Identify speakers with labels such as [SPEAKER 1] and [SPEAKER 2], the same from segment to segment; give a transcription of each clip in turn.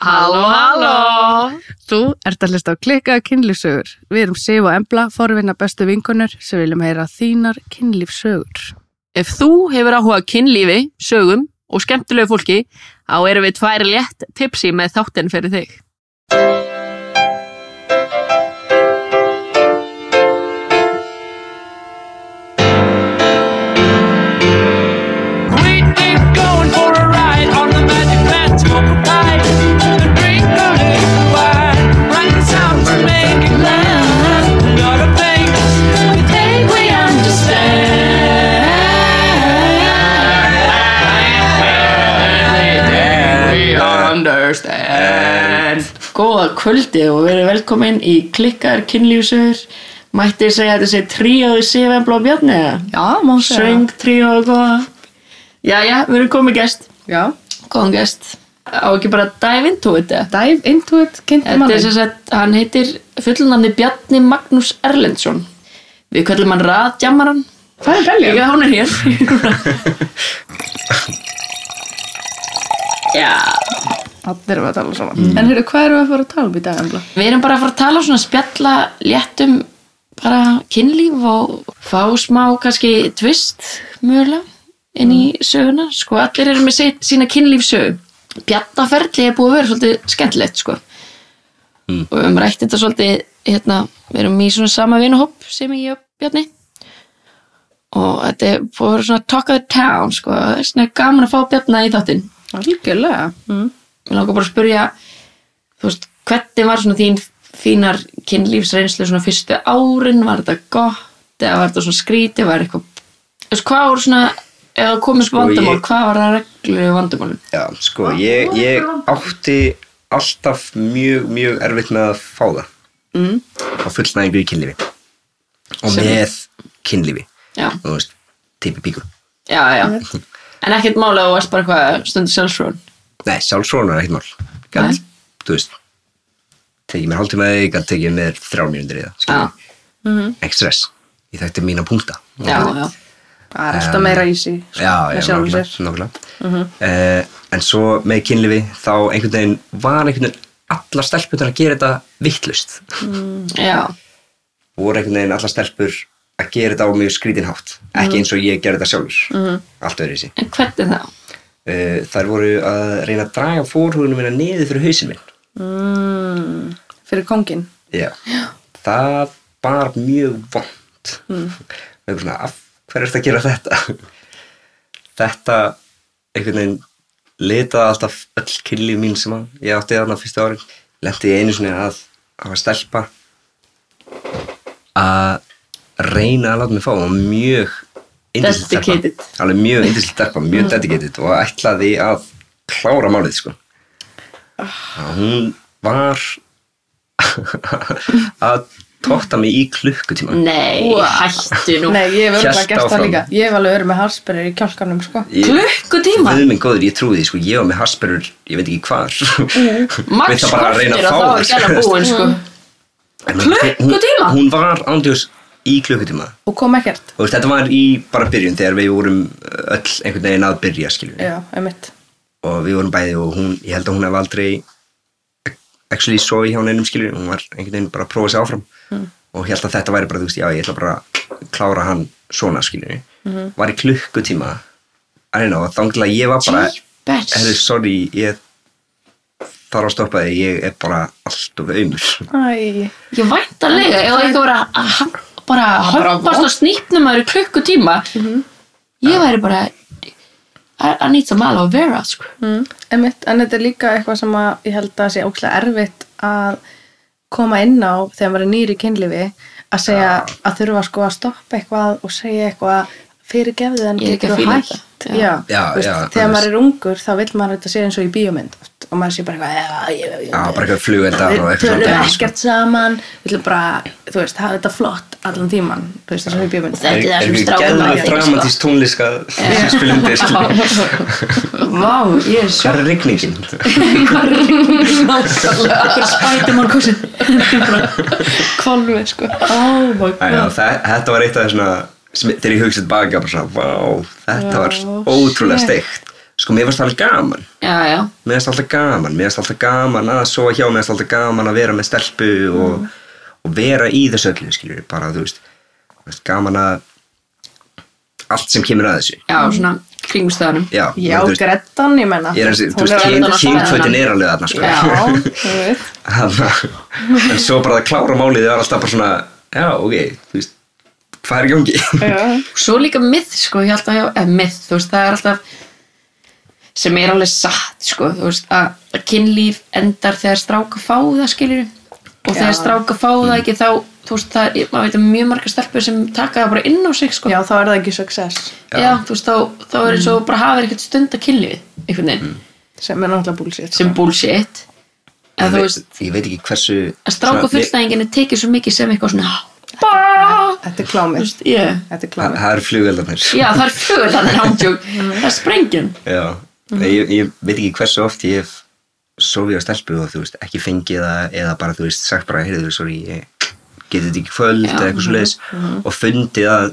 [SPEAKER 1] Halló, halló! Þú ert að hlusta á klikkaða kynlífsögur. Við erum Sif og Embla, forvinna bestu vinkonur sem viljum heyra þínar kynlífsögur.
[SPEAKER 2] Ef þú hefur áhuga á kynlífi, sögum og skemmtilegu fólki, þá erum við tvær létt tipsi með þáttinn fyrir þig.
[SPEAKER 3] Góða kvöldi og verið velkomin í klikkar kynlífsögur Mætti ég segja að þetta sé tríóði Sifan Blá Bjarni eða?
[SPEAKER 1] Já, má
[SPEAKER 3] Söng, tríóði, góða Jæja, við erum komið gest
[SPEAKER 1] Já,
[SPEAKER 3] Góðan gest Á ekki bara að dive into it eða?
[SPEAKER 1] dive into it, kynntu
[SPEAKER 3] Þetta er
[SPEAKER 1] manni.
[SPEAKER 3] sem sagt, hann heitir fullnafni Bjarni Magnús Erlendsson Við kallum hann Radjamaran
[SPEAKER 1] Hvað er belja?
[SPEAKER 3] Já, hún er hér Já
[SPEAKER 1] Allir erum að tala saman.
[SPEAKER 3] Mm.
[SPEAKER 1] En heyrðu, hvað erum við að fara að tala um í dag, Embla?
[SPEAKER 3] Við erum bara að fara að tala svona spjalla létt um bara kynlíf og fá smá kannski tvist mögulega inn í söguna. Sko allir eru með sitt, sína kynlífsögu. Bjallaferli er búið að vera svolítið skemmtilegt sko. Og við höfum rætt þetta svolítið hérna, við erum í svona sama vinuhopp sem ég og Bjarni. Og þetta er búið að vera svona talk of the town sko. Það er svona gaman að fá Bjarni í þáttinn
[SPEAKER 1] Algjörlega. Mm.
[SPEAKER 3] mér langar bara að spyrja þú veist, hvernig var svona þín þínar kynlífsreynslu svona fyrstu árin, var þetta gott eða var þetta svona skríti, var eitthvað þú veist, hvað voru svona eða komið sko
[SPEAKER 4] Sko, ég-
[SPEAKER 3] vandamál, hvað var það reglu vandamálum?
[SPEAKER 4] Já, sko, ég, ég átti alltaf mjög, mjög erfitt með að fá það mm. á fullnæðingu í kynlífi og
[SPEAKER 3] Sem-
[SPEAKER 4] með kynlífi
[SPEAKER 3] Já,
[SPEAKER 4] þú veist, típi píkur
[SPEAKER 3] já, já en ekkert mála og varst bara eitthvað stundu sjálfsfrón
[SPEAKER 4] Nei, sjálfsvona er ekkert mál Gat, þú veist tekið mér hálftíma eða ég gæti tekið mér þrjár mínútur í það
[SPEAKER 3] Já,
[SPEAKER 4] mm. ekki stress, ég þekkti mína punkta
[SPEAKER 3] já, já,
[SPEAKER 1] Það er alltaf meira í sig.
[SPEAKER 4] Um, já, já,
[SPEAKER 1] með sjálfum sér.
[SPEAKER 4] nákvæmlega, nákvæmlega. Eh, en svo með kynlífi þá einhvern veginn var einhvern veginn allar stelpunar að gera þetta vittlust
[SPEAKER 3] já,
[SPEAKER 4] voru einhvern veginn allar stelpur að gera þetta á mjög skrítinhátt ekki eins og ég gerði þetta sjálfur mm -hmm. allt öðru í sig
[SPEAKER 3] en hvernig þá?
[SPEAKER 4] þær voru að reyna að draga fórhugunum minna niður fyrir hausinn minn
[SPEAKER 1] Mm. Fyrir kongin.
[SPEAKER 4] já. það var mjög vond mm. og svona, af hverju ertu að gera þetta þetta einhvern veginn litaði alltaf öll kynlíf mín sem að ég átti þarna fyrstu árin lendi ég einu svona að hafa stelpa að reyna að láta mig fá og mjög yndisleg stelpa.
[SPEAKER 3] Dedicated.
[SPEAKER 4] alveg mjög indislega stelpa, mjög dedicated og ætlaði að klára málið sko að hún var að tóta mig í klukkutíma
[SPEAKER 3] Nei, hættu nú
[SPEAKER 1] Nei, ég hef örgulega
[SPEAKER 4] Hélt
[SPEAKER 1] gert það
[SPEAKER 4] áfram.
[SPEAKER 1] líka. Ég hef alveg örgulega með halsberðir í kjálkanum, sko.
[SPEAKER 3] Klukkutíma?
[SPEAKER 4] Guð minn góður, ég trúi því, sko, ég var með Hasperur, ég veit ekki hvar Við
[SPEAKER 3] Max
[SPEAKER 4] það bara að reyna
[SPEAKER 3] kortir
[SPEAKER 4] að
[SPEAKER 3] og þá er
[SPEAKER 4] fá
[SPEAKER 3] gæla búin sko
[SPEAKER 4] En hún-
[SPEAKER 3] Klukkutíma?
[SPEAKER 4] Hún, hún var ándjós í klukkutíma
[SPEAKER 1] Og kom ekkert.
[SPEAKER 4] Og þetta var í bara byrjun þegar við vorum öll einhvern veginn að byrja, skiljum við
[SPEAKER 1] Já, einmitt.
[SPEAKER 4] Og við vorum bæði og hún, ég held að hún hef aldrei actually svo hjá neinum, skiljum Hún var einhvern veginn bara að prófa sig áfram
[SPEAKER 3] Mm.
[SPEAKER 4] Og held að þetta væri bara, þú veist, já, ég ætla bara að klára hann svona, skiljum
[SPEAKER 3] Mhm.
[SPEAKER 4] Var í klukkutíma I don't know, þangilega ég var bara
[SPEAKER 3] Jeepers.
[SPEAKER 4] Herri, sorry, ég þarf að stoppa því, ég er bara allt of aumur.
[SPEAKER 1] Æ,
[SPEAKER 3] Ég væntarlega, ef það eitthvað vera að ha- bara hoppast og snýpnum maður í klukkutíma ég væri bara I, I need some aloe vera sko.
[SPEAKER 1] mm, einmitt. En þetta er líka eitthvað sem að ég held að sé ókslega erfitt að koma inn á þegar maður er nýri í kynlífi að segja að þurfa sko að stoppa eitthvað og segja eitthvað fyrirgefðu en
[SPEAKER 3] Ég er ekki
[SPEAKER 1] getur
[SPEAKER 3] að fíla
[SPEAKER 1] hætt.
[SPEAKER 3] þetta.
[SPEAKER 1] Já,
[SPEAKER 4] Já,
[SPEAKER 1] þú veist,
[SPEAKER 4] já,
[SPEAKER 1] þegar
[SPEAKER 4] annars-
[SPEAKER 1] maður er ungur þá vill maður þetta sé eins og í bíómynd oft og maður sé bara eitthvað "Já, ég- ég-
[SPEAKER 4] Já, bara eitthvað flugeldar og
[SPEAKER 1] við
[SPEAKER 4] eitthvað
[SPEAKER 1] tölum
[SPEAKER 4] svona. sko."
[SPEAKER 1] ekkert saman við viljum bara, þú veist, hafa þetta flott allan tíman, þú veist, þessum í bíómynd
[SPEAKER 3] Þetta er það sem strákar
[SPEAKER 4] gæðlega
[SPEAKER 3] gera, sko.
[SPEAKER 4] dramatísk tónlíska sem spilum þér.
[SPEAKER 3] Vá, ég er
[SPEAKER 4] Hvað er rigningin?
[SPEAKER 3] sjálfnáttalega
[SPEAKER 1] spæti mann kursi kvalvið sko
[SPEAKER 3] Oh my
[SPEAKER 4] Æ, já, þa- þetta var eitt af þessuna, sem- þegar ég hugsaði baka, bara svona, vá, þetta var ótrúlega steikt. sko mér varst alveg gaman
[SPEAKER 3] já, já,
[SPEAKER 4] mér varst alltaf gaman, mér varst alltaf gaman að sofa hjá, mér varst alltaf gaman að vera með stelpu og, og vera í þessu öllu skilur, bara þú veist mér varst gaman að allt sem kemur að þessu
[SPEAKER 3] já, svona kringstæðanum
[SPEAKER 4] já,
[SPEAKER 1] Já,
[SPEAKER 4] þú veist,
[SPEAKER 1] Grettan, ég menna
[SPEAKER 4] ég er, þessi- þú veist, kyn-
[SPEAKER 3] alveg að fara
[SPEAKER 4] kynfötin
[SPEAKER 3] þarna.
[SPEAKER 4] er alveg þarna sko.
[SPEAKER 1] Já, þú veit
[SPEAKER 4] Þannig að- en svo bara að klára málið það var alltaf bara svona, já, ok þú veist, hvað er í gangi
[SPEAKER 1] Já,
[SPEAKER 3] svo líka myth sko, ég held að, eða myth, þú veist, það er alltaf sem er alveg satt sko, þú veist, að, að kynlíf endar þegar stráka fá það skilur og þegar
[SPEAKER 1] Já.
[SPEAKER 3] stráka fá það ekki þá, þú veist, það, ég- maður veit um mjög margar stelpur sem taka það bara inn á sig sko
[SPEAKER 1] Já, þá er það ekki success
[SPEAKER 3] já. þú veist, þá, þá er eins og bara hafa ekkert stund að kynlífið, einhvern veginn
[SPEAKER 1] sem er náttúrulega sko. búlsitt
[SPEAKER 3] sem bullshit en þú
[SPEAKER 4] Ég
[SPEAKER 3] veist,
[SPEAKER 4] veit- ég veit ekki hversu
[SPEAKER 3] að stráka
[SPEAKER 4] svona-
[SPEAKER 3] fullnæðinginu tekið svo mikið sem eitthvað svona "Bah!"
[SPEAKER 1] Þetta er
[SPEAKER 3] Þú
[SPEAKER 1] klámið
[SPEAKER 3] veist, yeah.
[SPEAKER 1] Þetta er
[SPEAKER 4] það
[SPEAKER 1] klámið
[SPEAKER 4] það eru flugveldarnir
[SPEAKER 3] já, það er fjögur þannig ándjók það er sprengjum
[SPEAKER 4] Já,
[SPEAKER 3] Mhm.
[SPEAKER 4] ég, ég veit ekki hversu oft ég hef sofið á stelpu og þú veist, ekki fengið það eða bara, þú veist, sagt bara, heyrðu, sorry, ég geti þetta ekki í kvöld eða eitthvað svo leiðis og fundið að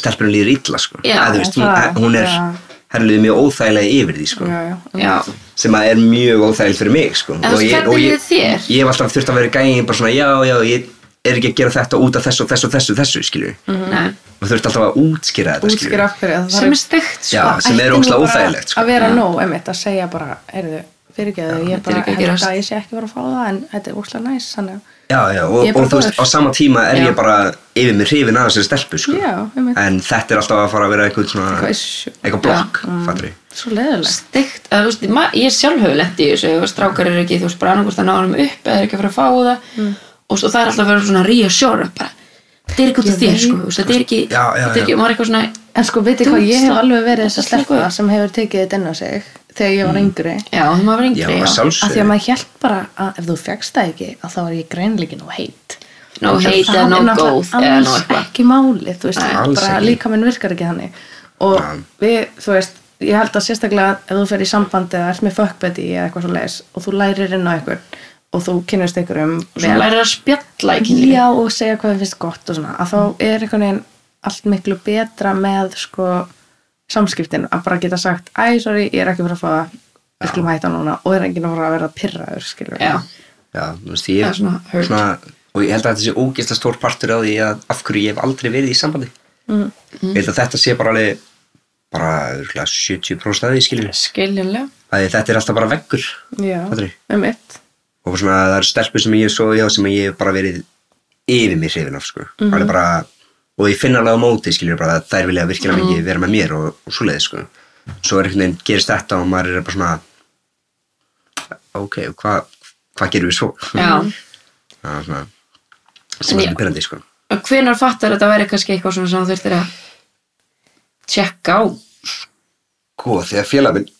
[SPEAKER 4] stelpunum líður illa, sko.
[SPEAKER 3] mhm, Já,
[SPEAKER 4] að, þú veist, hún,
[SPEAKER 1] það,
[SPEAKER 4] hún er,
[SPEAKER 1] já.
[SPEAKER 4] henni líður mjög óþægilega yfir því, sko,
[SPEAKER 1] Já, já
[SPEAKER 3] já,
[SPEAKER 4] sem að er mjög óþægileg fyrir mig, sko.
[SPEAKER 3] En þú veist, hvernig líður þér?
[SPEAKER 4] Ég hef alltaf þurft að vera í gæin bara svona, já, já, ég er ekki að gera þetta út af þessu og þessu og þessu, þessu, skilju.
[SPEAKER 3] Nei.
[SPEAKER 4] Og þurft alltaf að útskýra þetta, skilju.
[SPEAKER 1] Útskýra af hverju að það
[SPEAKER 3] sem
[SPEAKER 1] þarf-
[SPEAKER 3] er stegt sko.
[SPEAKER 4] Já, sem er
[SPEAKER 1] ætti nú
[SPEAKER 4] ógeðslega
[SPEAKER 1] bara
[SPEAKER 4] óþægilegt, sko.
[SPEAKER 1] Að vera nóg, einmitt, að segja bara Heyrðu, fyrirgeðu, ég
[SPEAKER 3] þetta er
[SPEAKER 1] bara
[SPEAKER 3] ekki að
[SPEAKER 1] held
[SPEAKER 3] gerast.
[SPEAKER 1] að ég sé ekki bara að fá það en þetta er úrslega næs, þannig að
[SPEAKER 4] Já, já, og,
[SPEAKER 1] Ég er bara
[SPEAKER 4] og þú veist,
[SPEAKER 1] góður.
[SPEAKER 4] á sama tíma er
[SPEAKER 3] Já.
[SPEAKER 4] ég bara yfir mér hrifin að þessari stelpu, sko.
[SPEAKER 1] Já, einmitt.
[SPEAKER 4] En þetta er alltaf að fara að vera eitthvað svona,
[SPEAKER 1] Eitthvað issue.
[SPEAKER 4] eitthvað blokk, fattur ég.
[SPEAKER 1] Mm. svo leðilegt
[SPEAKER 3] stegt að þú veist, ma- ég sjálf hefur lett í þessu ef strákar eru ekki, þú veist, bara annarkvist að ná hann upp eða er ekki að fara að fá það og svo það er alltaf að vera svona reassure bara, þetta er ekki út af
[SPEAKER 1] Ég
[SPEAKER 3] þér,
[SPEAKER 1] veit.
[SPEAKER 3] sko, þú veist, þetta er ekki
[SPEAKER 4] Já, já,
[SPEAKER 3] þetta er ekki,
[SPEAKER 4] já.
[SPEAKER 3] maður er eitthvað svona
[SPEAKER 1] En sko, veitir hvað, ég hef
[SPEAKER 3] Dúnsla.
[SPEAKER 1] alveg verið þess að
[SPEAKER 3] Þetta er
[SPEAKER 1] stelpa
[SPEAKER 3] eitthvað-
[SPEAKER 1] sem hefur tekið þetta inn á sig þegar ég var
[SPEAKER 3] Mm.
[SPEAKER 1] yngri
[SPEAKER 3] já, þú maður er
[SPEAKER 4] Já,
[SPEAKER 3] yngri, já,
[SPEAKER 4] að
[SPEAKER 1] að því að
[SPEAKER 4] sjálfsögðu.
[SPEAKER 1] maður hjælt bara að ef þú fegst það ekki að þá er ég greinleikin og heit
[SPEAKER 3] no hate
[SPEAKER 1] Það
[SPEAKER 3] eða no
[SPEAKER 1] er
[SPEAKER 3] góð
[SPEAKER 1] náttúrulega
[SPEAKER 3] eða no
[SPEAKER 1] alls
[SPEAKER 3] eitthvað
[SPEAKER 1] ekki málið, þú veist,
[SPEAKER 4] Nei,
[SPEAKER 1] Nei,
[SPEAKER 4] alls
[SPEAKER 1] bara
[SPEAKER 4] ekki.
[SPEAKER 1] líka minn virkar ekki þannig og
[SPEAKER 4] Já.
[SPEAKER 1] við, þú veist, ég held að sérstaklega ef þú fer í sambandi eða ert með fuckbuddy eða eitthvað svo leis og þú lærir inn á einhvern og þú kynnast einhverjum
[SPEAKER 3] svona
[SPEAKER 1] vel.
[SPEAKER 3] lærir að spjalla ekki
[SPEAKER 1] já og segja hvað þið finnst gott og svona að þá er einhvern veginn allt miklu betra með sko samskiptin að bara geta sagt æ, sorry, ég er ekki fyrir að fá það við skulum hætta núna og er enginn að fara að vera pirraður skilur
[SPEAKER 3] já,
[SPEAKER 4] Já, þú veist, ég
[SPEAKER 3] Það er svona hurt.
[SPEAKER 4] og ég held að þetta sé ógeðslega stór partur á því að af hverju ég hef aldrei verið í sambandi.
[SPEAKER 1] Mm,
[SPEAKER 4] Ég held að þetta sé bara alveg, bara, örgulega 70% af því, skiljum við.
[SPEAKER 3] skiljanlega
[SPEAKER 4] Þetta er alltaf bara veggur,
[SPEAKER 1] já,
[SPEAKER 4] fattur ég.
[SPEAKER 1] um mitt
[SPEAKER 4] og svona það eru stelpur sem ég hef sofið hjá sem ég hef bara verið yfir mér hrifin af sko. mm bara, og ég finn alveg á móti skilur bara að þær vilja virkilega mikið vera með mér og, og svoleiði sko. svo er einhvern veginn gerist þetta og maður er bara svona ok, hvað hva gerum við svo
[SPEAKER 3] já,
[SPEAKER 4] það er svona sem
[SPEAKER 3] En
[SPEAKER 4] er
[SPEAKER 3] ég-
[SPEAKER 4] byrjandi sko.
[SPEAKER 3] og hvenar fattar þetta væri kannski eitthvað svona sem þú þurftir að tjekka á
[SPEAKER 4] Góð, Sko, þegar félag minn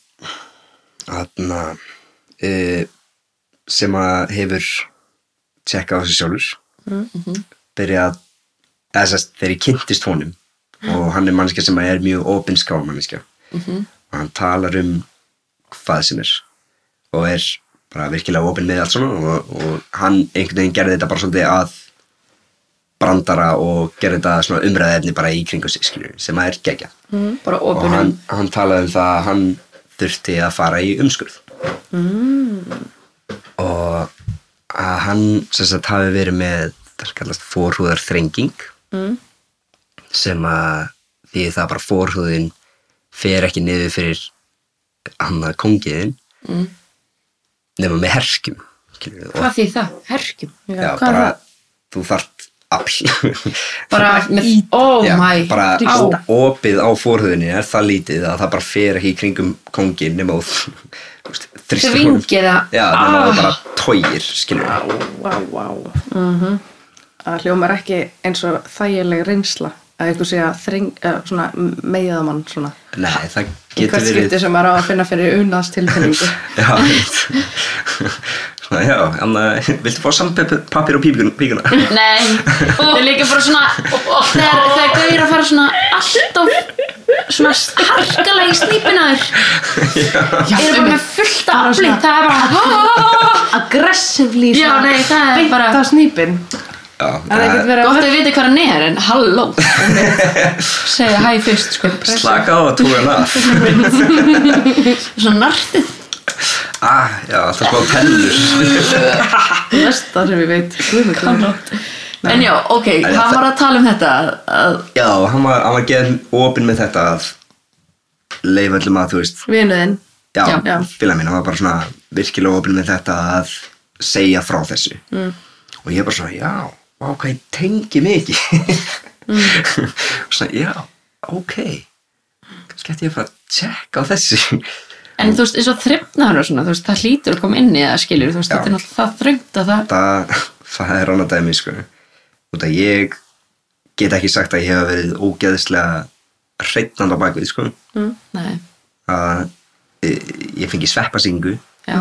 [SPEAKER 4] þarna e, sem að hefur tjekkað á sig sjálfur byrjað að eða sérst þegar ég kynntist honum og hann er mannskja sem er mjög opinská mannskja og hann talar um hvað sem er og er bara virkilega opin með allt svona og, og hann einhvern veginn gerði þetta bara svolítið að brandara og gerði þetta svona umræðefni bara í kringu sig skilur, sem að er geggjað
[SPEAKER 3] bara
[SPEAKER 4] og hann,
[SPEAKER 3] opunum
[SPEAKER 4] hann talaði um það að hann þurfti að fara í umskurð mm. og að hann sem sagt hafi verið með það kallast forhúðar þrenging mm. sem að því það bara forhúðin fer ekki niður fyrir hann að kongiðin mm. nema með herskjum skilurðu, og-
[SPEAKER 3] hvað því það, herkjum
[SPEAKER 1] já,
[SPEAKER 4] já,
[SPEAKER 1] hvað er
[SPEAKER 4] bara,
[SPEAKER 1] það?
[SPEAKER 4] þú þart afl
[SPEAKER 3] bara með, oh
[SPEAKER 4] Já,
[SPEAKER 3] my
[SPEAKER 4] bara
[SPEAKER 3] á,
[SPEAKER 4] ó- opið á fórhauðinni er það lítið að það bara fer ekki í kringum kongin nema og þrýstur
[SPEAKER 3] Þvingið það.
[SPEAKER 4] já, þannig að
[SPEAKER 3] Ah.
[SPEAKER 4] það bara tógir skilur við.
[SPEAKER 1] Vá, vá mm
[SPEAKER 4] Mhm.
[SPEAKER 1] Það hljómar ekki eins og þægileg reynsla að einhver sé að þreng, uh, svona, meiðamann svona.
[SPEAKER 4] nei, það
[SPEAKER 1] Í hvert
[SPEAKER 4] getur
[SPEAKER 1] skipti
[SPEAKER 4] verið
[SPEAKER 1] sem maður á að finna fyrir unnast tilfinningu.
[SPEAKER 4] já, veit. svona, já, en uh, viltu fá sampapir og pípikuna píkuna?
[SPEAKER 3] Nei, það er líka bara svona þegar, þegar gauðir að fara svona alltaf svona harkalega í slípina þér eru bara með fullt af afli það er bara
[SPEAKER 1] Aggressivlý
[SPEAKER 3] Já, nei, það er bara
[SPEAKER 1] Það snýpin.
[SPEAKER 4] já, eh,
[SPEAKER 1] Það er ekkert verið að
[SPEAKER 3] Gott að við viti hvað hann er, en halló Segja hæ fyrst, sko
[SPEAKER 4] slaka á að tóka hann af
[SPEAKER 3] Svona nartið
[SPEAKER 4] ah, já, alltaf smá pennur
[SPEAKER 1] Vestar sem ég veit Guðmund
[SPEAKER 3] En já, ok, hann var að tala um þetta að,
[SPEAKER 4] já, hann var, hann var geðin opinn með þetta að leif öllum að, þú veist
[SPEAKER 1] Vinuðinn
[SPEAKER 4] já,
[SPEAKER 3] Já.
[SPEAKER 4] já. félag mín, hann var bara svona virkilega opinn með þetta að segja frá þessu mm. og ég bara svona, já, vá, hvað ég tengi mikið mm. svona, já, ok kannski ætti ég að fara að tjekka á þessu
[SPEAKER 3] En þú veist, eins og þrifnaður og svona, þú veist, það hlýtur að koma inn í það skilur, þú veist,
[SPEAKER 4] Já.
[SPEAKER 3] þetta er náttúrulega það þröngt að það
[SPEAKER 4] það, það er annað dæmi sko. út að ég get ekki sagt að ég hef verið ógeðislega hreittnanda bakvið sko.
[SPEAKER 3] Nei,
[SPEAKER 4] að e, ég fengi sveppasingu
[SPEAKER 3] já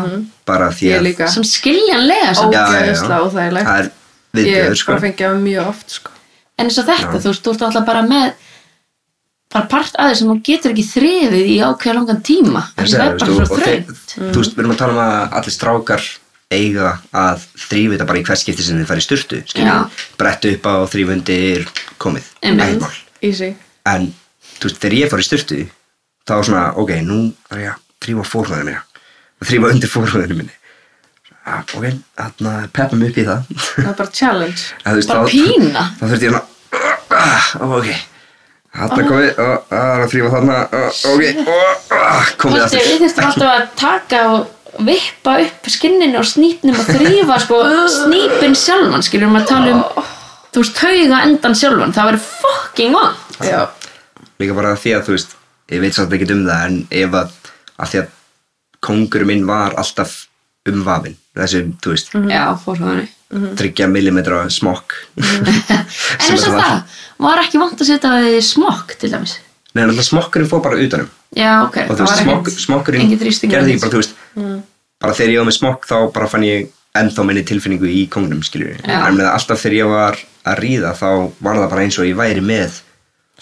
[SPEAKER 4] bara því
[SPEAKER 1] Ég
[SPEAKER 4] að
[SPEAKER 1] líka
[SPEAKER 3] Sem skiljanlega
[SPEAKER 1] Mhm. Ó.
[SPEAKER 3] sem
[SPEAKER 4] Já, já, já.
[SPEAKER 1] Ógeðislega óþægilegt.
[SPEAKER 4] það er
[SPEAKER 1] Ég
[SPEAKER 4] viðbjöður sko.
[SPEAKER 1] bara fengi að mjög oft sko.
[SPEAKER 3] En eins og þetta,
[SPEAKER 4] Já.
[SPEAKER 3] þú veist, þú ert alltaf bara með bara part aðeins sem þú getur ekki þrifið í ákveða langan tíma
[SPEAKER 4] En
[SPEAKER 3] Það
[SPEAKER 4] segja,
[SPEAKER 3] er
[SPEAKER 4] veistu,
[SPEAKER 3] bara svo
[SPEAKER 4] og þeir-
[SPEAKER 3] þröngt
[SPEAKER 4] þú veist, við erum að tala um að allir strákar eiga að þrýfa þetta bara í hvert skipti sem þið farið styrtu
[SPEAKER 3] Já.
[SPEAKER 4] brettu upp á þrýfundir komið,
[SPEAKER 3] Einmitt.
[SPEAKER 4] ekkert mál
[SPEAKER 1] Easy
[SPEAKER 4] en þú veist, þegar ég fór í styrtu þá var svona, ok, nú er ég að þrýfa fórhóðinu mína að þrýfa undir fórhóðinu minni ja, ok, þarna peppum upp í það
[SPEAKER 1] Það er bara challenge
[SPEAKER 4] En þú veist,
[SPEAKER 3] Bara
[SPEAKER 4] þá-
[SPEAKER 3] pína.
[SPEAKER 4] þá þurfti ég að ok,
[SPEAKER 3] Ah.
[SPEAKER 4] þarna komið og það er að þrýfa þarna og, ok, og, og, komið
[SPEAKER 3] Kosti, við þurftum alltaf að taka og vippa upp skinninu og snýpnum og þrýfa sko, snýpin sjálfan skilur maður að tala um þú veist, tauga endan sjálfan, það verður fucking on
[SPEAKER 1] Já
[SPEAKER 4] líka bara því að þú veist ég veit svolítið ekki um það en ef að af því að kongur minn var alltaf umvafin þessum, þú veist,
[SPEAKER 3] Já, fórhóðinu
[SPEAKER 4] 30 mm smokk
[SPEAKER 3] En eins og það, var ekki vant að setja það í smokk til dæmis
[SPEAKER 4] Nei, náttúrulega smokkurinn fór bara utanum
[SPEAKER 3] Já, ok,
[SPEAKER 4] og þú veist, smokk, smokkurinn
[SPEAKER 3] engin þrýstingur á
[SPEAKER 4] gerði ekki bara, þú veist
[SPEAKER 3] Mm.
[SPEAKER 4] bara þegar ég var með smokk þá bara fann ég ennþá minni tilfinningu í kongnum, skiljur
[SPEAKER 3] Já.
[SPEAKER 4] en með alltaf þegar ég var að ríða þá var það bara eins og ég væri með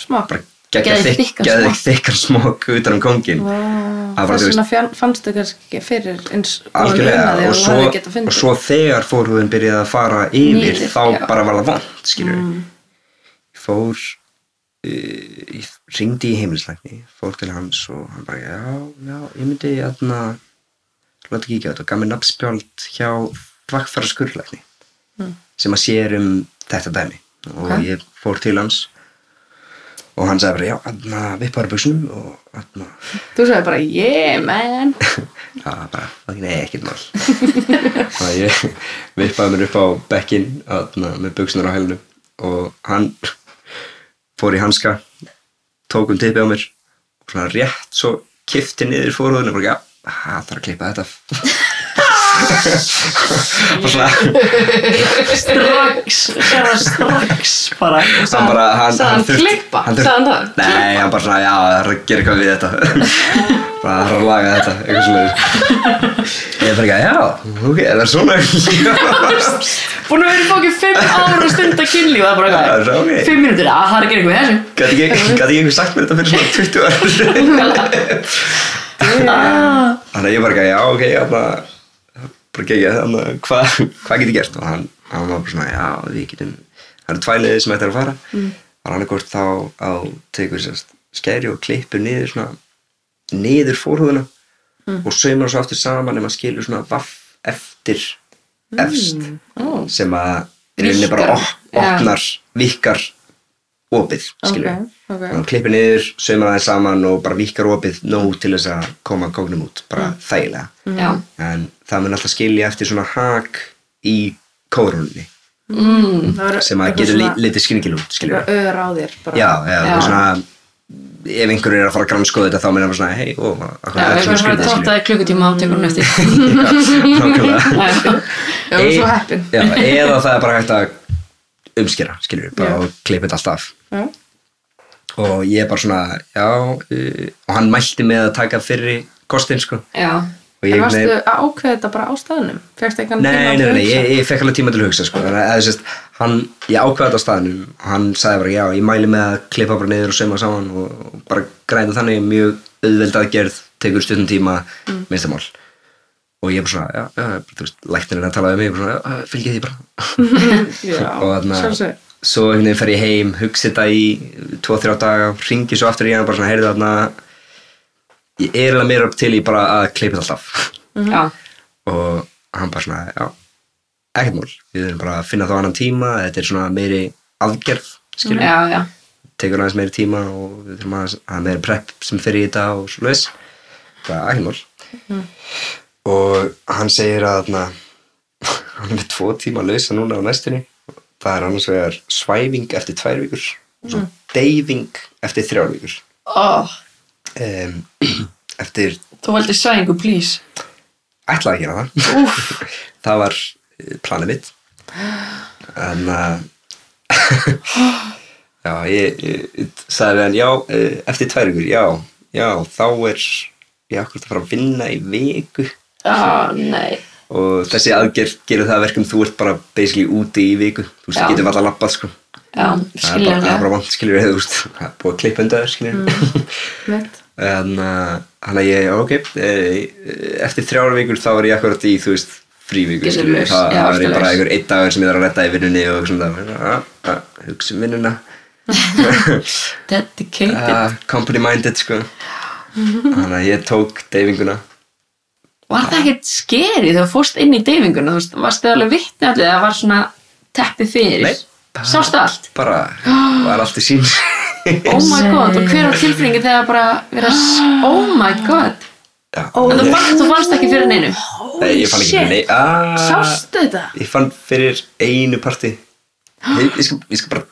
[SPEAKER 1] Smá
[SPEAKER 4] bara geggja
[SPEAKER 3] Geðveik
[SPEAKER 4] þykk,
[SPEAKER 3] þykkan
[SPEAKER 4] geðveik
[SPEAKER 3] smokk.
[SPEAKER 4] þykkan smokk um utanum kongin það var,
[SPEAKER 1] Ah, Þess
[SPEAKER 4] þú veist,
[SPEAKER 1] vegna fjann- fannst þau kannski ekki fyrir eins
[SPEAKER 4] algjörlega og svo, og
[SPEAKER 1] svo
[SPEAKER 4] svo þegar fórhúðin byrjaði að fara yfir
[SPEAKER 3] Niður,
[SPEAKER 4] þá
[SPEAKER 3] já. Mm.
[SPEAKER 4] bara var það vant skilur ég fór uh, ég ringdi í heimilislækni fór til hans og hann bara já, já, ég myndi aðna láta kíkja á þetta og gaf mér nafnspjöld hjá vakfæra skurðlækni
[SPEAKER 3] Mm.
[SPEAKER 4] sem að sér um þetta dæmi og ég fór til hans og hann sagði bara já, aðna vippar buksum og hérna aðna
[SPEAKER 1] Þú sagði bara yeah man
[SPEAKER 4] það var bara, fucking ekkert mál þannig að ég vippaði mér upp á bekkin aðna, með buksunar á hælunum og hann fór í hanska tók um tippi á mér og svona rétt svo kifti niður fórhúðinu og bara, já, það þarf að klippa þetta af." og svona
[SPEAKER 3] Strax, sér það strax bara
[SPEAKER 4] hann bara, hann,
[SPEAKER 3] sagði hann
[SPEAKER 4] þurfti-
[SPEAKER 3] klippa?
[SPEAKER 4] hann þurfti-
[SPEAKER 3] Sagði hann það?
[SPEAKER 4] nei, hann bara svona, já, það er að gera eitthvað við þetta bara það er að laga þetta eitthvað svona ég bara, já, ok, er það svona
[SPEAKER 3] Búin að vera í fókið 5 ára og stunda kynlíf og það er
[SPEAKER 4] Já,
[SPEAKER 3] bara
[SPEAKER 4] það er ok.
[SPEAKER 3] 5 mínútur, að það er að gera eitthvað í þessu
[SPEAKER 4] Gæti ekki, gæti ekki einhver sagt mér þetta fyrir svona 20 ára Þannig að ég bara gæti, já ok, já bara bara gegja þannig að hvað hva get ég gert og hann, hann var bara svona, já við getum það eru tvær leiðir sem þetta er að fara mm. og hann er hvort þá á tegur sérst skæri og klippur niður svona niður fórhúðuna og saumar svo aftur saman nema skilur svona vaff eftir efst sem að í rauninni bara op,
[SPEAKER 3] Víkkar.
[SPEAKER 4] opnar, vikkar opið, skilur
[SPEAKER 1] Ok, ok.
[SPEAKER 4] hann klippir niður, saumar aðeins saman og bara vikkar opið nóg til þess að koma kóknum út, bara þægilega
[SPEAKER 3] Já
[SPEAKER 4] en það mun alltaf skilja eftir svona hak í kórunni sem að getur svona... litið skringil út, skilur
[SPEAKER 1] Öður á þér bara
[SPEAKER 4] já, já, já.
[SPEAKER 3] Já.
[SPEAKER 4] svona ef einhver er að fara að grannskoða þetta þá mun það bara svona, hei, ó, akkur
[SPEAKER 3] Já, við erum bara að tóta það í klukkutíma og tekur hún eftir
[SPEAKER 4] skilur nákvæmlega
[SPEAKER 1] Já, þú er svo heppin
[SPEAKER 4] já, eða það er bara hægt að umskera, skilur, bara og klippa þetta allt af
[SPEAKER 1] Já.
[SPEAKER 4] og ég bara svona, já uh, og hann mælti með að taka fyrri kostin, sko
[SPEAKER 3] Já,
[SPEAKER 4] og
[SPEAKER 1] En
[SPEAKER 4] ég
[SPEAKER 1] varstu
[SPEAKER 4] nei,
[SPEAKER 1] að ákveða þetta bara á staðnum? Fegst ekki hann
[SPEAKER 4] nei,
[SPEAKER 1] til
[SPEAKER 4] nei,
[SPEAKER 1] að
[SPEAKER 4] nei,
[SPEAKER 1] hugsa?
[SPEAKER 4] ég, ég fekk alveg tíma til að hugsa, sko þannig að eða sérst, hann, ég ákveða þetta á staðnum og hann sagði bara, já, ég mæli með að klippa bara niður og sauma saman og, og bara græna þannig mjög auðveld aðgerð, tekur stundum tíma mm. minnstamál og ég er bara svona, já, já, bara, þú veist, læknirinn að tala um mig, ég er bara svona, já, já, fylgið því bara
[SPEAKER 1] Já,
[SPEAKER 4] og þarna,
[SPEAKER 1] sjálfsög.
[SPEAKER 4] svo einhvern veginn fer ég heim hugsa þetta í 2-3 daga ringi svo aftur í hann og bara svona, heyrðu þarna ég er alveg meira upp til í bara að klippa þetta alltaf
[SPEAKER 3] já,
[SPEAKER 4] og hann bara svona, já ekkert mál, við erum bara að finna þá annan tíma þetta er svona meiri aðgerð skilur,
[SPEAKER 3] já, já,
[SPEAKER 4] tekur aðeins meiri tíma og við þurfum aðeins að hafa meiri prep sem fyrir í þetta og svo leis bara ekkert mál og hann segir að þarna, hann er með tvo tíma lausa núna á næstunni það er annars vegar svæfing eftir tvær vikur og svo deyfing eftir þrjár vikur
[SPEAKER 3] ó,
[SPEAKER 4] um, eftir
[SPEAKER 3] þú veldi sæðingu, please
[SPEAKER 4] ætlaði að gera það það var eh, planið mitt en að já, ég, ég sagði við hann, já, eh, eftir tvær ykkur já, já, þá er ég akkur að fara að vinna í viku
[SPEAKER 3] já, nei
[SPEAKER 4] og þessi aðgerð gerir það að verkum þú ert bara basically úti í viku þú veist,
[SPEAKER 3] Já.
[SPEAKER 4] ég getur alltaf labbað sko
[SPEAKER 3] já,
[SPEAKER 4] það er bara, það er
[SPEAKER 3] skiljanlega
[SPEAKER 4] bara vant, skilur við, þú veist það er búið að klippa undan, skilur við
[SPEAKER 3] Mm.
[SPEAKER 1] Mitt.
[SPEAKER 4] en uh, hann að ég, ok eh, eftir þrjára vikur þá er ég akkurat í þú veist, frívikur
[SPEAKER 3] Getur laus,
[SPEAKER 4] það
[SPEAKER 3] já,
[SPEAKER 4] það er
[SPEAKER 3] alltaf
[SPEAKER 4] bara
[SPEAKER 3] laus.
[SPEAKER 4] einhver einn dagur sem ég þarf að redda í vinnunni og svona, að, að, hugsa um vinnuna
[SPEAKER 3] dedicated,
[SPEAKER 4] uh, company minded sko hann að ég tók deyfinguna
[SPEAKER 3] var það ekkert skeri þegar þú fórst inn í deyfinguna, þú veist, varst þið alveg vittni allir eða var svona teppi fyrir
[SPEAKER 4] Nei, bara-
[SPEAKER 3] sástu allt
[SPEAKER 4] bara, var allt í sín
[SPEAKER 3] Oh my god, og hver var tilfinningi þegar bara vera, s- oh my god
[SPEAKER 4] já,
[SPEAKER 3] og þú
[SPEAKER 4] ég,
[SPEAKER 3] fannst, þú fannst ekki fyrir neinu
[SPEAKER 4] nei, ég fann ekki nei, að,
[SPEAKER 1] Sástu þetta?
[SPEAKER 4] ég fann fyrir einu parti ég, ég, skal, ég skal bara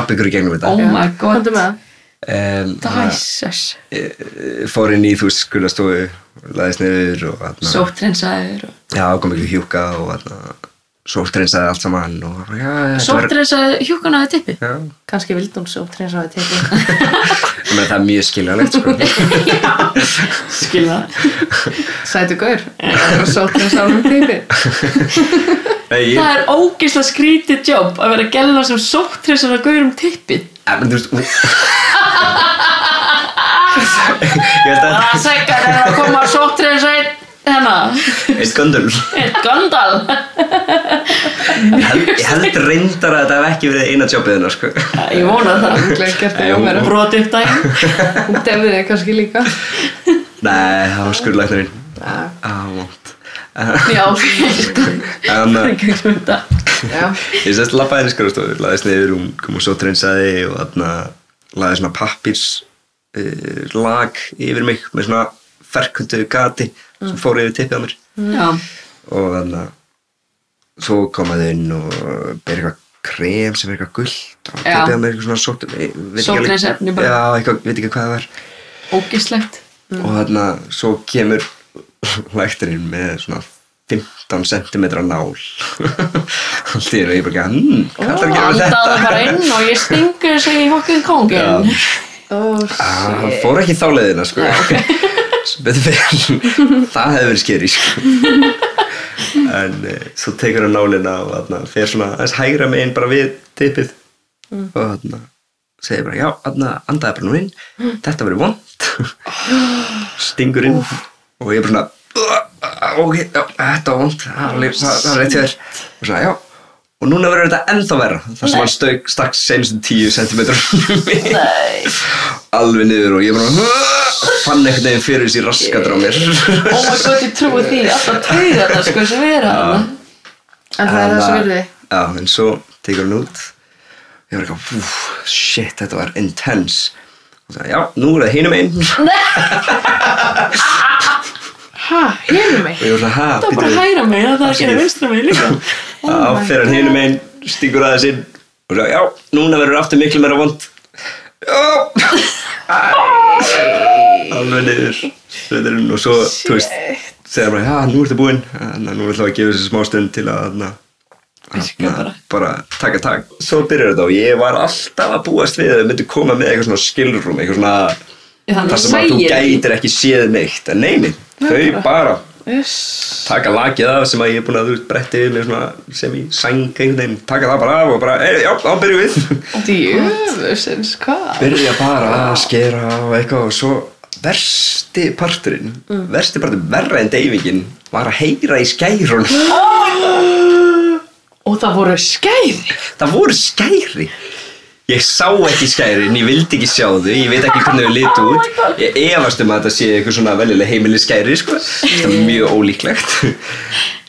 [SPEAKER 4] lappa ykkur í gegnum þetta
[SPEAKER 3] oh my god
[SPEAKER 1] Komdu með það.
[SPEAKER 4] um,
[SPEAKER 3] dæsess,
[SPEAKER 4] fór inn í þú veist skulastofu laðist niður og atna,
[SPEAKER 3] sóttrensaður og-
[SPEAKER 4] já, kom ekki hjúka og atna, sóttrensaði allt saman og bara, já, þetta var
[SPEAKER 3] sóttrensaður hjúkunaði tippi
[SPEAKER 4] já,
[SPEAKER 1] Kanski vildi hún svo treinsaði tekið.
[SPEAKER 4] ég meina, það er mjög skiljanlegt sko.
[SPEAKER 3] skilja
[SPEAKER 1] Sætu gaur. Það var svo treinsaði tekið.
[SPEAKER 4] Nei, ég,
[SPEAKER 3] það er ógeðslega skrítið jobb að vera gæla sem sóttrensaður að gauður um tippi
[SPEAKER 4] en, þú veist, ú- ég held að
[SPEAKER 3] það seggar er að koma sóttrensaður hennar,
[SPEAKER 4] eitt göndul ég
[SPEAKER 3] eitt gondal
[SPEAKER 4] held, ég held reyndar að þetta hef ekki verið eina jobbiðina sko.
[SPEAKER 3] ég vona það
[SPEAKER 1] Það er gert það hjá mér.
[SPEAKER 3] brotið upp daginn
[SPEAKER 1] Hún defði þig kannski líka.
[SPEAKER 4] nei, það var skurðlæknirinn ah, vont
[SPEAKER 3] já, ég
[SPEAKER 4] en að
[SPEAKER 3] gegnum þetta
[SPEAKER 1] Já.
[SPEAKER 4] Ég sérst lappaði henni skurðstofu, laðist niður, hún kom og svo treinsaði og þarna laði svona pappirs uh, lag yfir mig með svona ferkundu gati
[SPEAKER 3] Mm.
[SPEAKER 4] sem fór yfir tippið á mér
[SPEAKER 3] já,
[SPEAKER 4] og þarna svo komaði inn og ber eitthvað krem sem er eitthvað gullt og
[SPEAKER 3] Já.
[SPEAKER 4] tippið á mér eitthvað svona sótt eh, veit ekki alveg-
[SPEAKER 3] Sótthreinsiefni bara.
[SPEAKER 4] Já, eitthvað, veit ekki hvað það var
[SPEAKER 3] ógeðslegt
[SPEAKER 4] og þarna svo kemur lækturinn með svona 15 cm nál allt í einu og ég bara ekki hm, hvað þarf að gera með þetta
[SPEAKER 3] andaði bara inn og ég stingu þessu í hokkun kongin
[SPEAKER 1] Ó,
[SPEAKER 4] Ah, hann fór ekki þá leiðina sko Sem betur fyrir það hefði verið skeri sko. en uh, svo tekur hann nálina og þarna, fer svona aðeins hægra megin bara við tippið og þarna segir bara já, þarna andaði bara nú inn þetta verið vond stingur inn og ég bara svona "Ugh, ok, já, þetta var vond það var alveg- það- það var rétt hjá þér og svona já og núna verður þetta ennþá verra þar sem hann stauk stakk senst 10 cm alveg niður og ég bara fann einhvern veginn fyrir þessi raskat á mér
[SPEAKER 3] oh my god, ég trúi því, alltaf tauða þetta sko sem vera þarna.
[SPEAKER 1] En það er
[SPEAKER 4] En,
[SPEAKER 1] það sem
[SPEAKER 4] uh,
[SPEAKER 1] virði.
[SPEAKER 4] Já, en svo tekur hann út Ég var eitthvað, "Úff, shit, þetta var intense Og það, já, nú er það hinum einn Og
[SPEAKER 1] Hæ, hefur mig.
[SPEAKER 4] ég var svona, ha,
[SPEAKER 3] það er bara að hæra mig, það er ekki að vinstra mig líka
[SPEAKER 4] Þá fer hann hinum einn, stingur aðeins inn Og svo, já, núna verður aftur miklu meira vond Já Æ, Alveg niður Sveiturinn og svo, þú veist Segir bara, já, nú ertu búinn Þannig að nú ætlaðu að gefa þessi smá stund til að þarna,
[SPEAKER 3] Virka bara.
[SPEAKER 4] bara taka tak Svo byrjar þetta og ég var alltaf að búast við að þau myndu koma með eitthvað svona skilrúm eitthvað
[SPEAKER 3] Já,
[SPEAKER 4] svona
[SPEAKER 3] þannig
[SPEAKER 4] þar sem að þú
[SPEAKER 3] sæir ekki.
[SPEAKER 4] gætir ekki séð neitt en neini, þau bara taka lakið af sem að ég er búin að þú veist bretti yfir mig svona sem í sæng einhvern veginn, taka það bara af og bara, "Hey, já, þá byrjum við
[SPEAKER 1] Djöfusins, hvað?
[SPEAKER 4] byrja bara að skera og eitthvað og svo versti parturinn versti parturinn verra en deyfingin var að heyra í skærun
[SPEAKER 3] Og það voru skæði.
[SPEAKER 4] það voru skæri ég sá ekki skærin, ég vildi ekki sjá þau ég veit ekki hvernig þau litu út ég efast um að þetta sé eitthvað svona veljuleg heimili skæri sko. þetta er mjög ólíklegt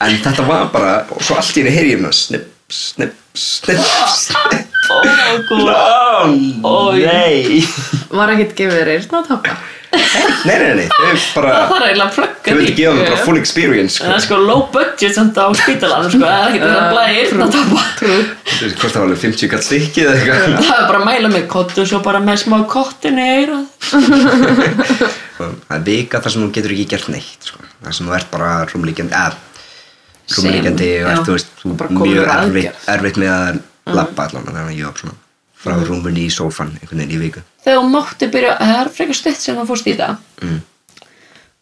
[SPEAKER 4] en þetta var bara og svo allt í henni heyri ég hérna snipp, snipp, snipp, snipp
[SPEAKER 3] Ó, góð.
[SPEAKER 4] Ó,
[SPEAKER 3] Oj.
[SPEAKER 4] Oh, nei
[SPEAKER 1] Var ekkert gefið þér eyrna að tapa?
[SPEAKER 4] Nei, nei, nei, þau bara
[SPEAKER 3] Það þarf eiginlega að plugga
[SPEAKER 4] þau vildi gefa mér bara full experience
[SPEAKER 3] En það er
[SPEAKER 4] sko.
[SPEAKER 3] sko low budget samt á spítalanum sko, það er ekkert að blæði einn að tapa.
[SPEAKER 4] Þú veist, hvort það var alveg 50 kall stykkið eða eitthvað
[SPEAKER 3] Það er bara að mæla með kottu, svo bara með smá kottinu í eyrað.
[SPEAKER 4] Sko, það er vika þar sem þú getur ekki gert neitt sko. þar sem þú ert bara rúmlíkjandi eða, rúmlíkjandi
[SPEAKER 3] Sem,
[SPEAKER 4] og
[SPEAKER 3] já.
[SPEAKER 4] ert, þú veist, þú
[SPEAKER 1] Og bara
[SPEAKER 4] er
[SPEAKER 1] komið
[SPEAKER 4] mjög
[SPEAKER 1] úr
[SPEAKER 4] erfitt,
[SPEAKER 1] aðgerð.
[SPEAKER 4] erfitt með að labba allan þannig að ég var svona frá mm. rúmunni í sófan einhvern veginn í viku
[SPEAKER 3] Þegar þú mátti byrja, það er frekar stutt sem þú fórst í það.
[SPEAKER 4] Mm.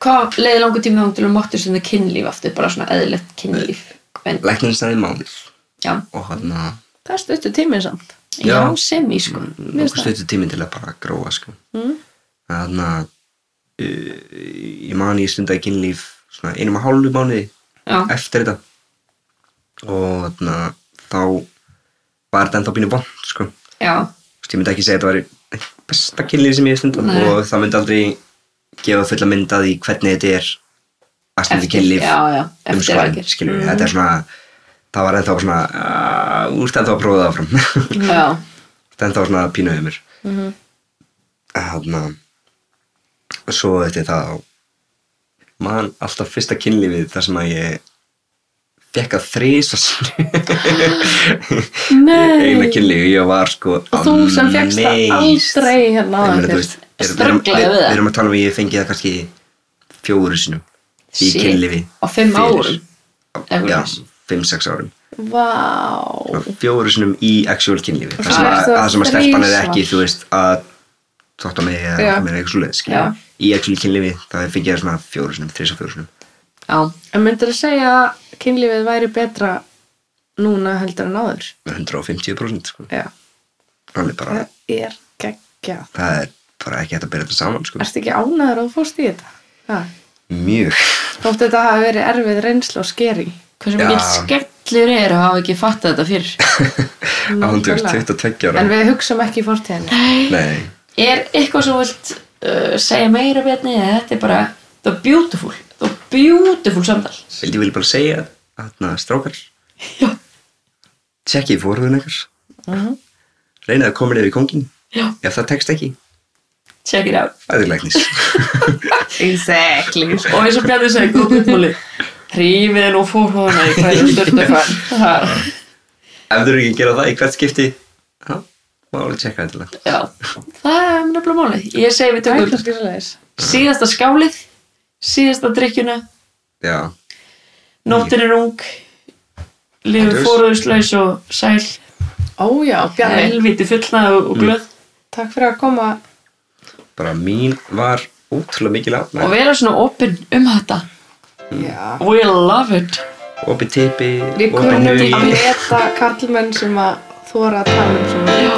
[SPEAKER 3] Hvað leiði langur tíma þá til þú máttir sem það kynlíf aftur, bara svona eðlilegt kynlíf? En,
[SPEAKER 4] læknirinn staði mánuð
[SPEAKER 3] já,
[SPEAKER 4] og hann að
[SPEAKER 1] Það stuttu tíminn samt.
[SPEAKER 3] já,
[SPEAKER 4] Já. Mm.
[SPEAKER 3] sem í sko. Mér
[SPEAKER 4] nokkuð
[SPEAKER 3] finnst það.
[SPEAKER 4] stötu tíminn til að bara gróa sko. mm. þannig að uh, ég man ég stundaði kynlíf svona einum og hálfu mánuði
[SPEAKER 3] Já,
[SPEAKER 4] eftir þetta og þannig að þá var þetta ennþá pínu vond sko.
[SPEAKER 3] já,
[SPEAKER 4] Þú veist, ég myndi ekki segja að þetta var besta kynlíf sem ég hef stundum
[SPEAKER 3] Nei.
[SPEAKER 4] og það myndi aldrei gefa fulla mynd að því hvernig þetta er að stunda
[SPEAKER 3] Eftir-
[SPEAKER 4] kynlíf
[SPEAKER 3] já, já,
[SPEAKER 4] um
[SPEAKER 3] eftir
[SPEAKER 4] skoðan,
[SPEAKER 3] aðgerð.
[SPEAKER 4] skilur við, þetta er svona það var ennþá svona uh, úrst ennþá að prófa það áfram þetta
[SPEAKER 3] já,
[SPEAKER 4] er ennþá svona pínuðið mér þannig að svo eftir það man alltaf fyrsta kynlífið þar sem að ég fekk að þrýsa eina kynlífi ég var sko
[SPEAKER 1] Og þú sem fékkst það
[SPEAKER 4] amazed.
[SPEAKER 1] aldrei hérna áður
[SPEAKER 4] Ég meina, þú
[SPEAKER 1] fyrr.
[SPEAKER 4] veist, er- við erum-
[SPEAKER 3] Strögglaði
[SPEAKER 4] við-
[SPEAKER 3] við það.
[SPEAKER 4] Við erum að tala um að ég fengi það kannski fjóru sinum í
[SPEAKER 3] Shit.
[SPEAKER 4] kynlífi
[SPEAKER 3] Á fimm
[SPEAKER 4] Fyrir.
[SPEAKER 3] árum? Eitthvað
[SPEAKER 4] Já,
[SPEAKER 3] svoleiðis.
[SPEAKER 4] 5-6 árum
[SPEAKER 1] Vá.
[SPEAKER 4] fjóru sinum í actual kynlífi
[SPEAKER 1] Og
[SPEAKER 4] það sem
[SPEAKER 1] svo
[SPEAKER 4] að,
[SPEAKER 1] fékkstu það
[SPEAKER 4] það sem að stelpan er
[SPEAKER 1] þrisvar.
[SPEAKER 4] ekki þú veist að þótt að mig eða
[SPEAKER 1] Já.
[SPEAKER 4] þótt að mig eða eitthvað svoleiðis skilur. í actual kynlífi það fengi ég svona fjóru sinum, þrís og fjóru sinum
[SPEAKER 3] já.
[SPEAKER 1] En myndir að segja að kynlífið væri betra núna heldur en áður?
[SPEAKER 4] með 150% sko.
[SPEAKER 1] Já.
[SPEAKER 4] Alveg bara,
[SPEAKER 1] Það er geggjað.
[SPEAKER 4] það er bara ekki hægt að byrja þetta saman sko.
[SPEAKER 1] Ertu ekki ánæður að þú fórst í þetta? Ha.
[SPEAKER 4] mjög
[SPEAKER 1] Þótt þetta hafi verið erfið reynslu og skeri.
[SPEAKER 3] Hversu
[SPEAKER 4] Já.
[SPEAKER 3] mikið skellur er að hafa ekki fattað þetta fyrr?
[SPEAKER 4] ándugst 22 ára
[SPEAKER 1] En við hugsum ekki í fortíðinni.
[SPEAKER 4] Nei,
[SPEAKER 3] Er eitthvað sem þú vilt uh, segja meira betni eða þetta er bara the beautiful, the beautiful samtal?
[SPEAKER 4] vildi ég vilja bara segja að strákar
[SPEAKER 3] Já. Mhm.
[SPEAKER 4] tjekkið fórhugin ekkert reynið að koma niður í kongin
[SPEAKER 3] Já.
[SPEAKER 4] ef það tekst ekki,
[SPEAKER 3] Check it out.
[SPEAKER 4] fæður læknis
[SPEAKER 1] Exactly.
[SPEAKER 3] Og eins og Bjarni segi, góð guttmáli, hrýfið nú fórhóðana í hverju styrtu fann.
[SPEAKER 4] ef þú eru ekki að gera það í hvert skipti já, má alveg tjekka þetta langt
[SPEAKER 3] Já, það er nefnilega málið. Ég segi við
[SPEAKER 1] Það er
[SPEAKER 3] tökum
[SPEAKER 1] kannski svoleiðis.
[SPEAKER 3] síðasta skálið, síðasta drikkjuna,
[SPEAKER 4] já,
[SPEAKER 3] nóttin er ung, lifið
[SPEAKER 4] Andrés.
[SPEAKER 3] fóruðuslaus og sæl,
[SPEAKER 1] Ó já, Bjarni.
[SPEAKER 3] helviti fullnað og, og glöð.
[SPEAKER 1] Takk fyrir að koma.
[SPEAKER 4] bara mín var ótrúlega mikil
[SPEAKER 3] Og
[SPEAKER 4] ánæg
[SPEAKER 3] vera svona opinn um þetta.
[SPEAKER 1] Já.
[SPEAKER 3] We love it.
[SPEAKER 4] opið tipi,
[SPEAKER 1] Við
[SPEAKER 4] opið
[SPEAKER 1] kunnum að
[SPEAKER 4] hugi
[SPEAKER 1] leta karlmenn sem að þóra að tala um svona.
[SPEAKER 3] Já.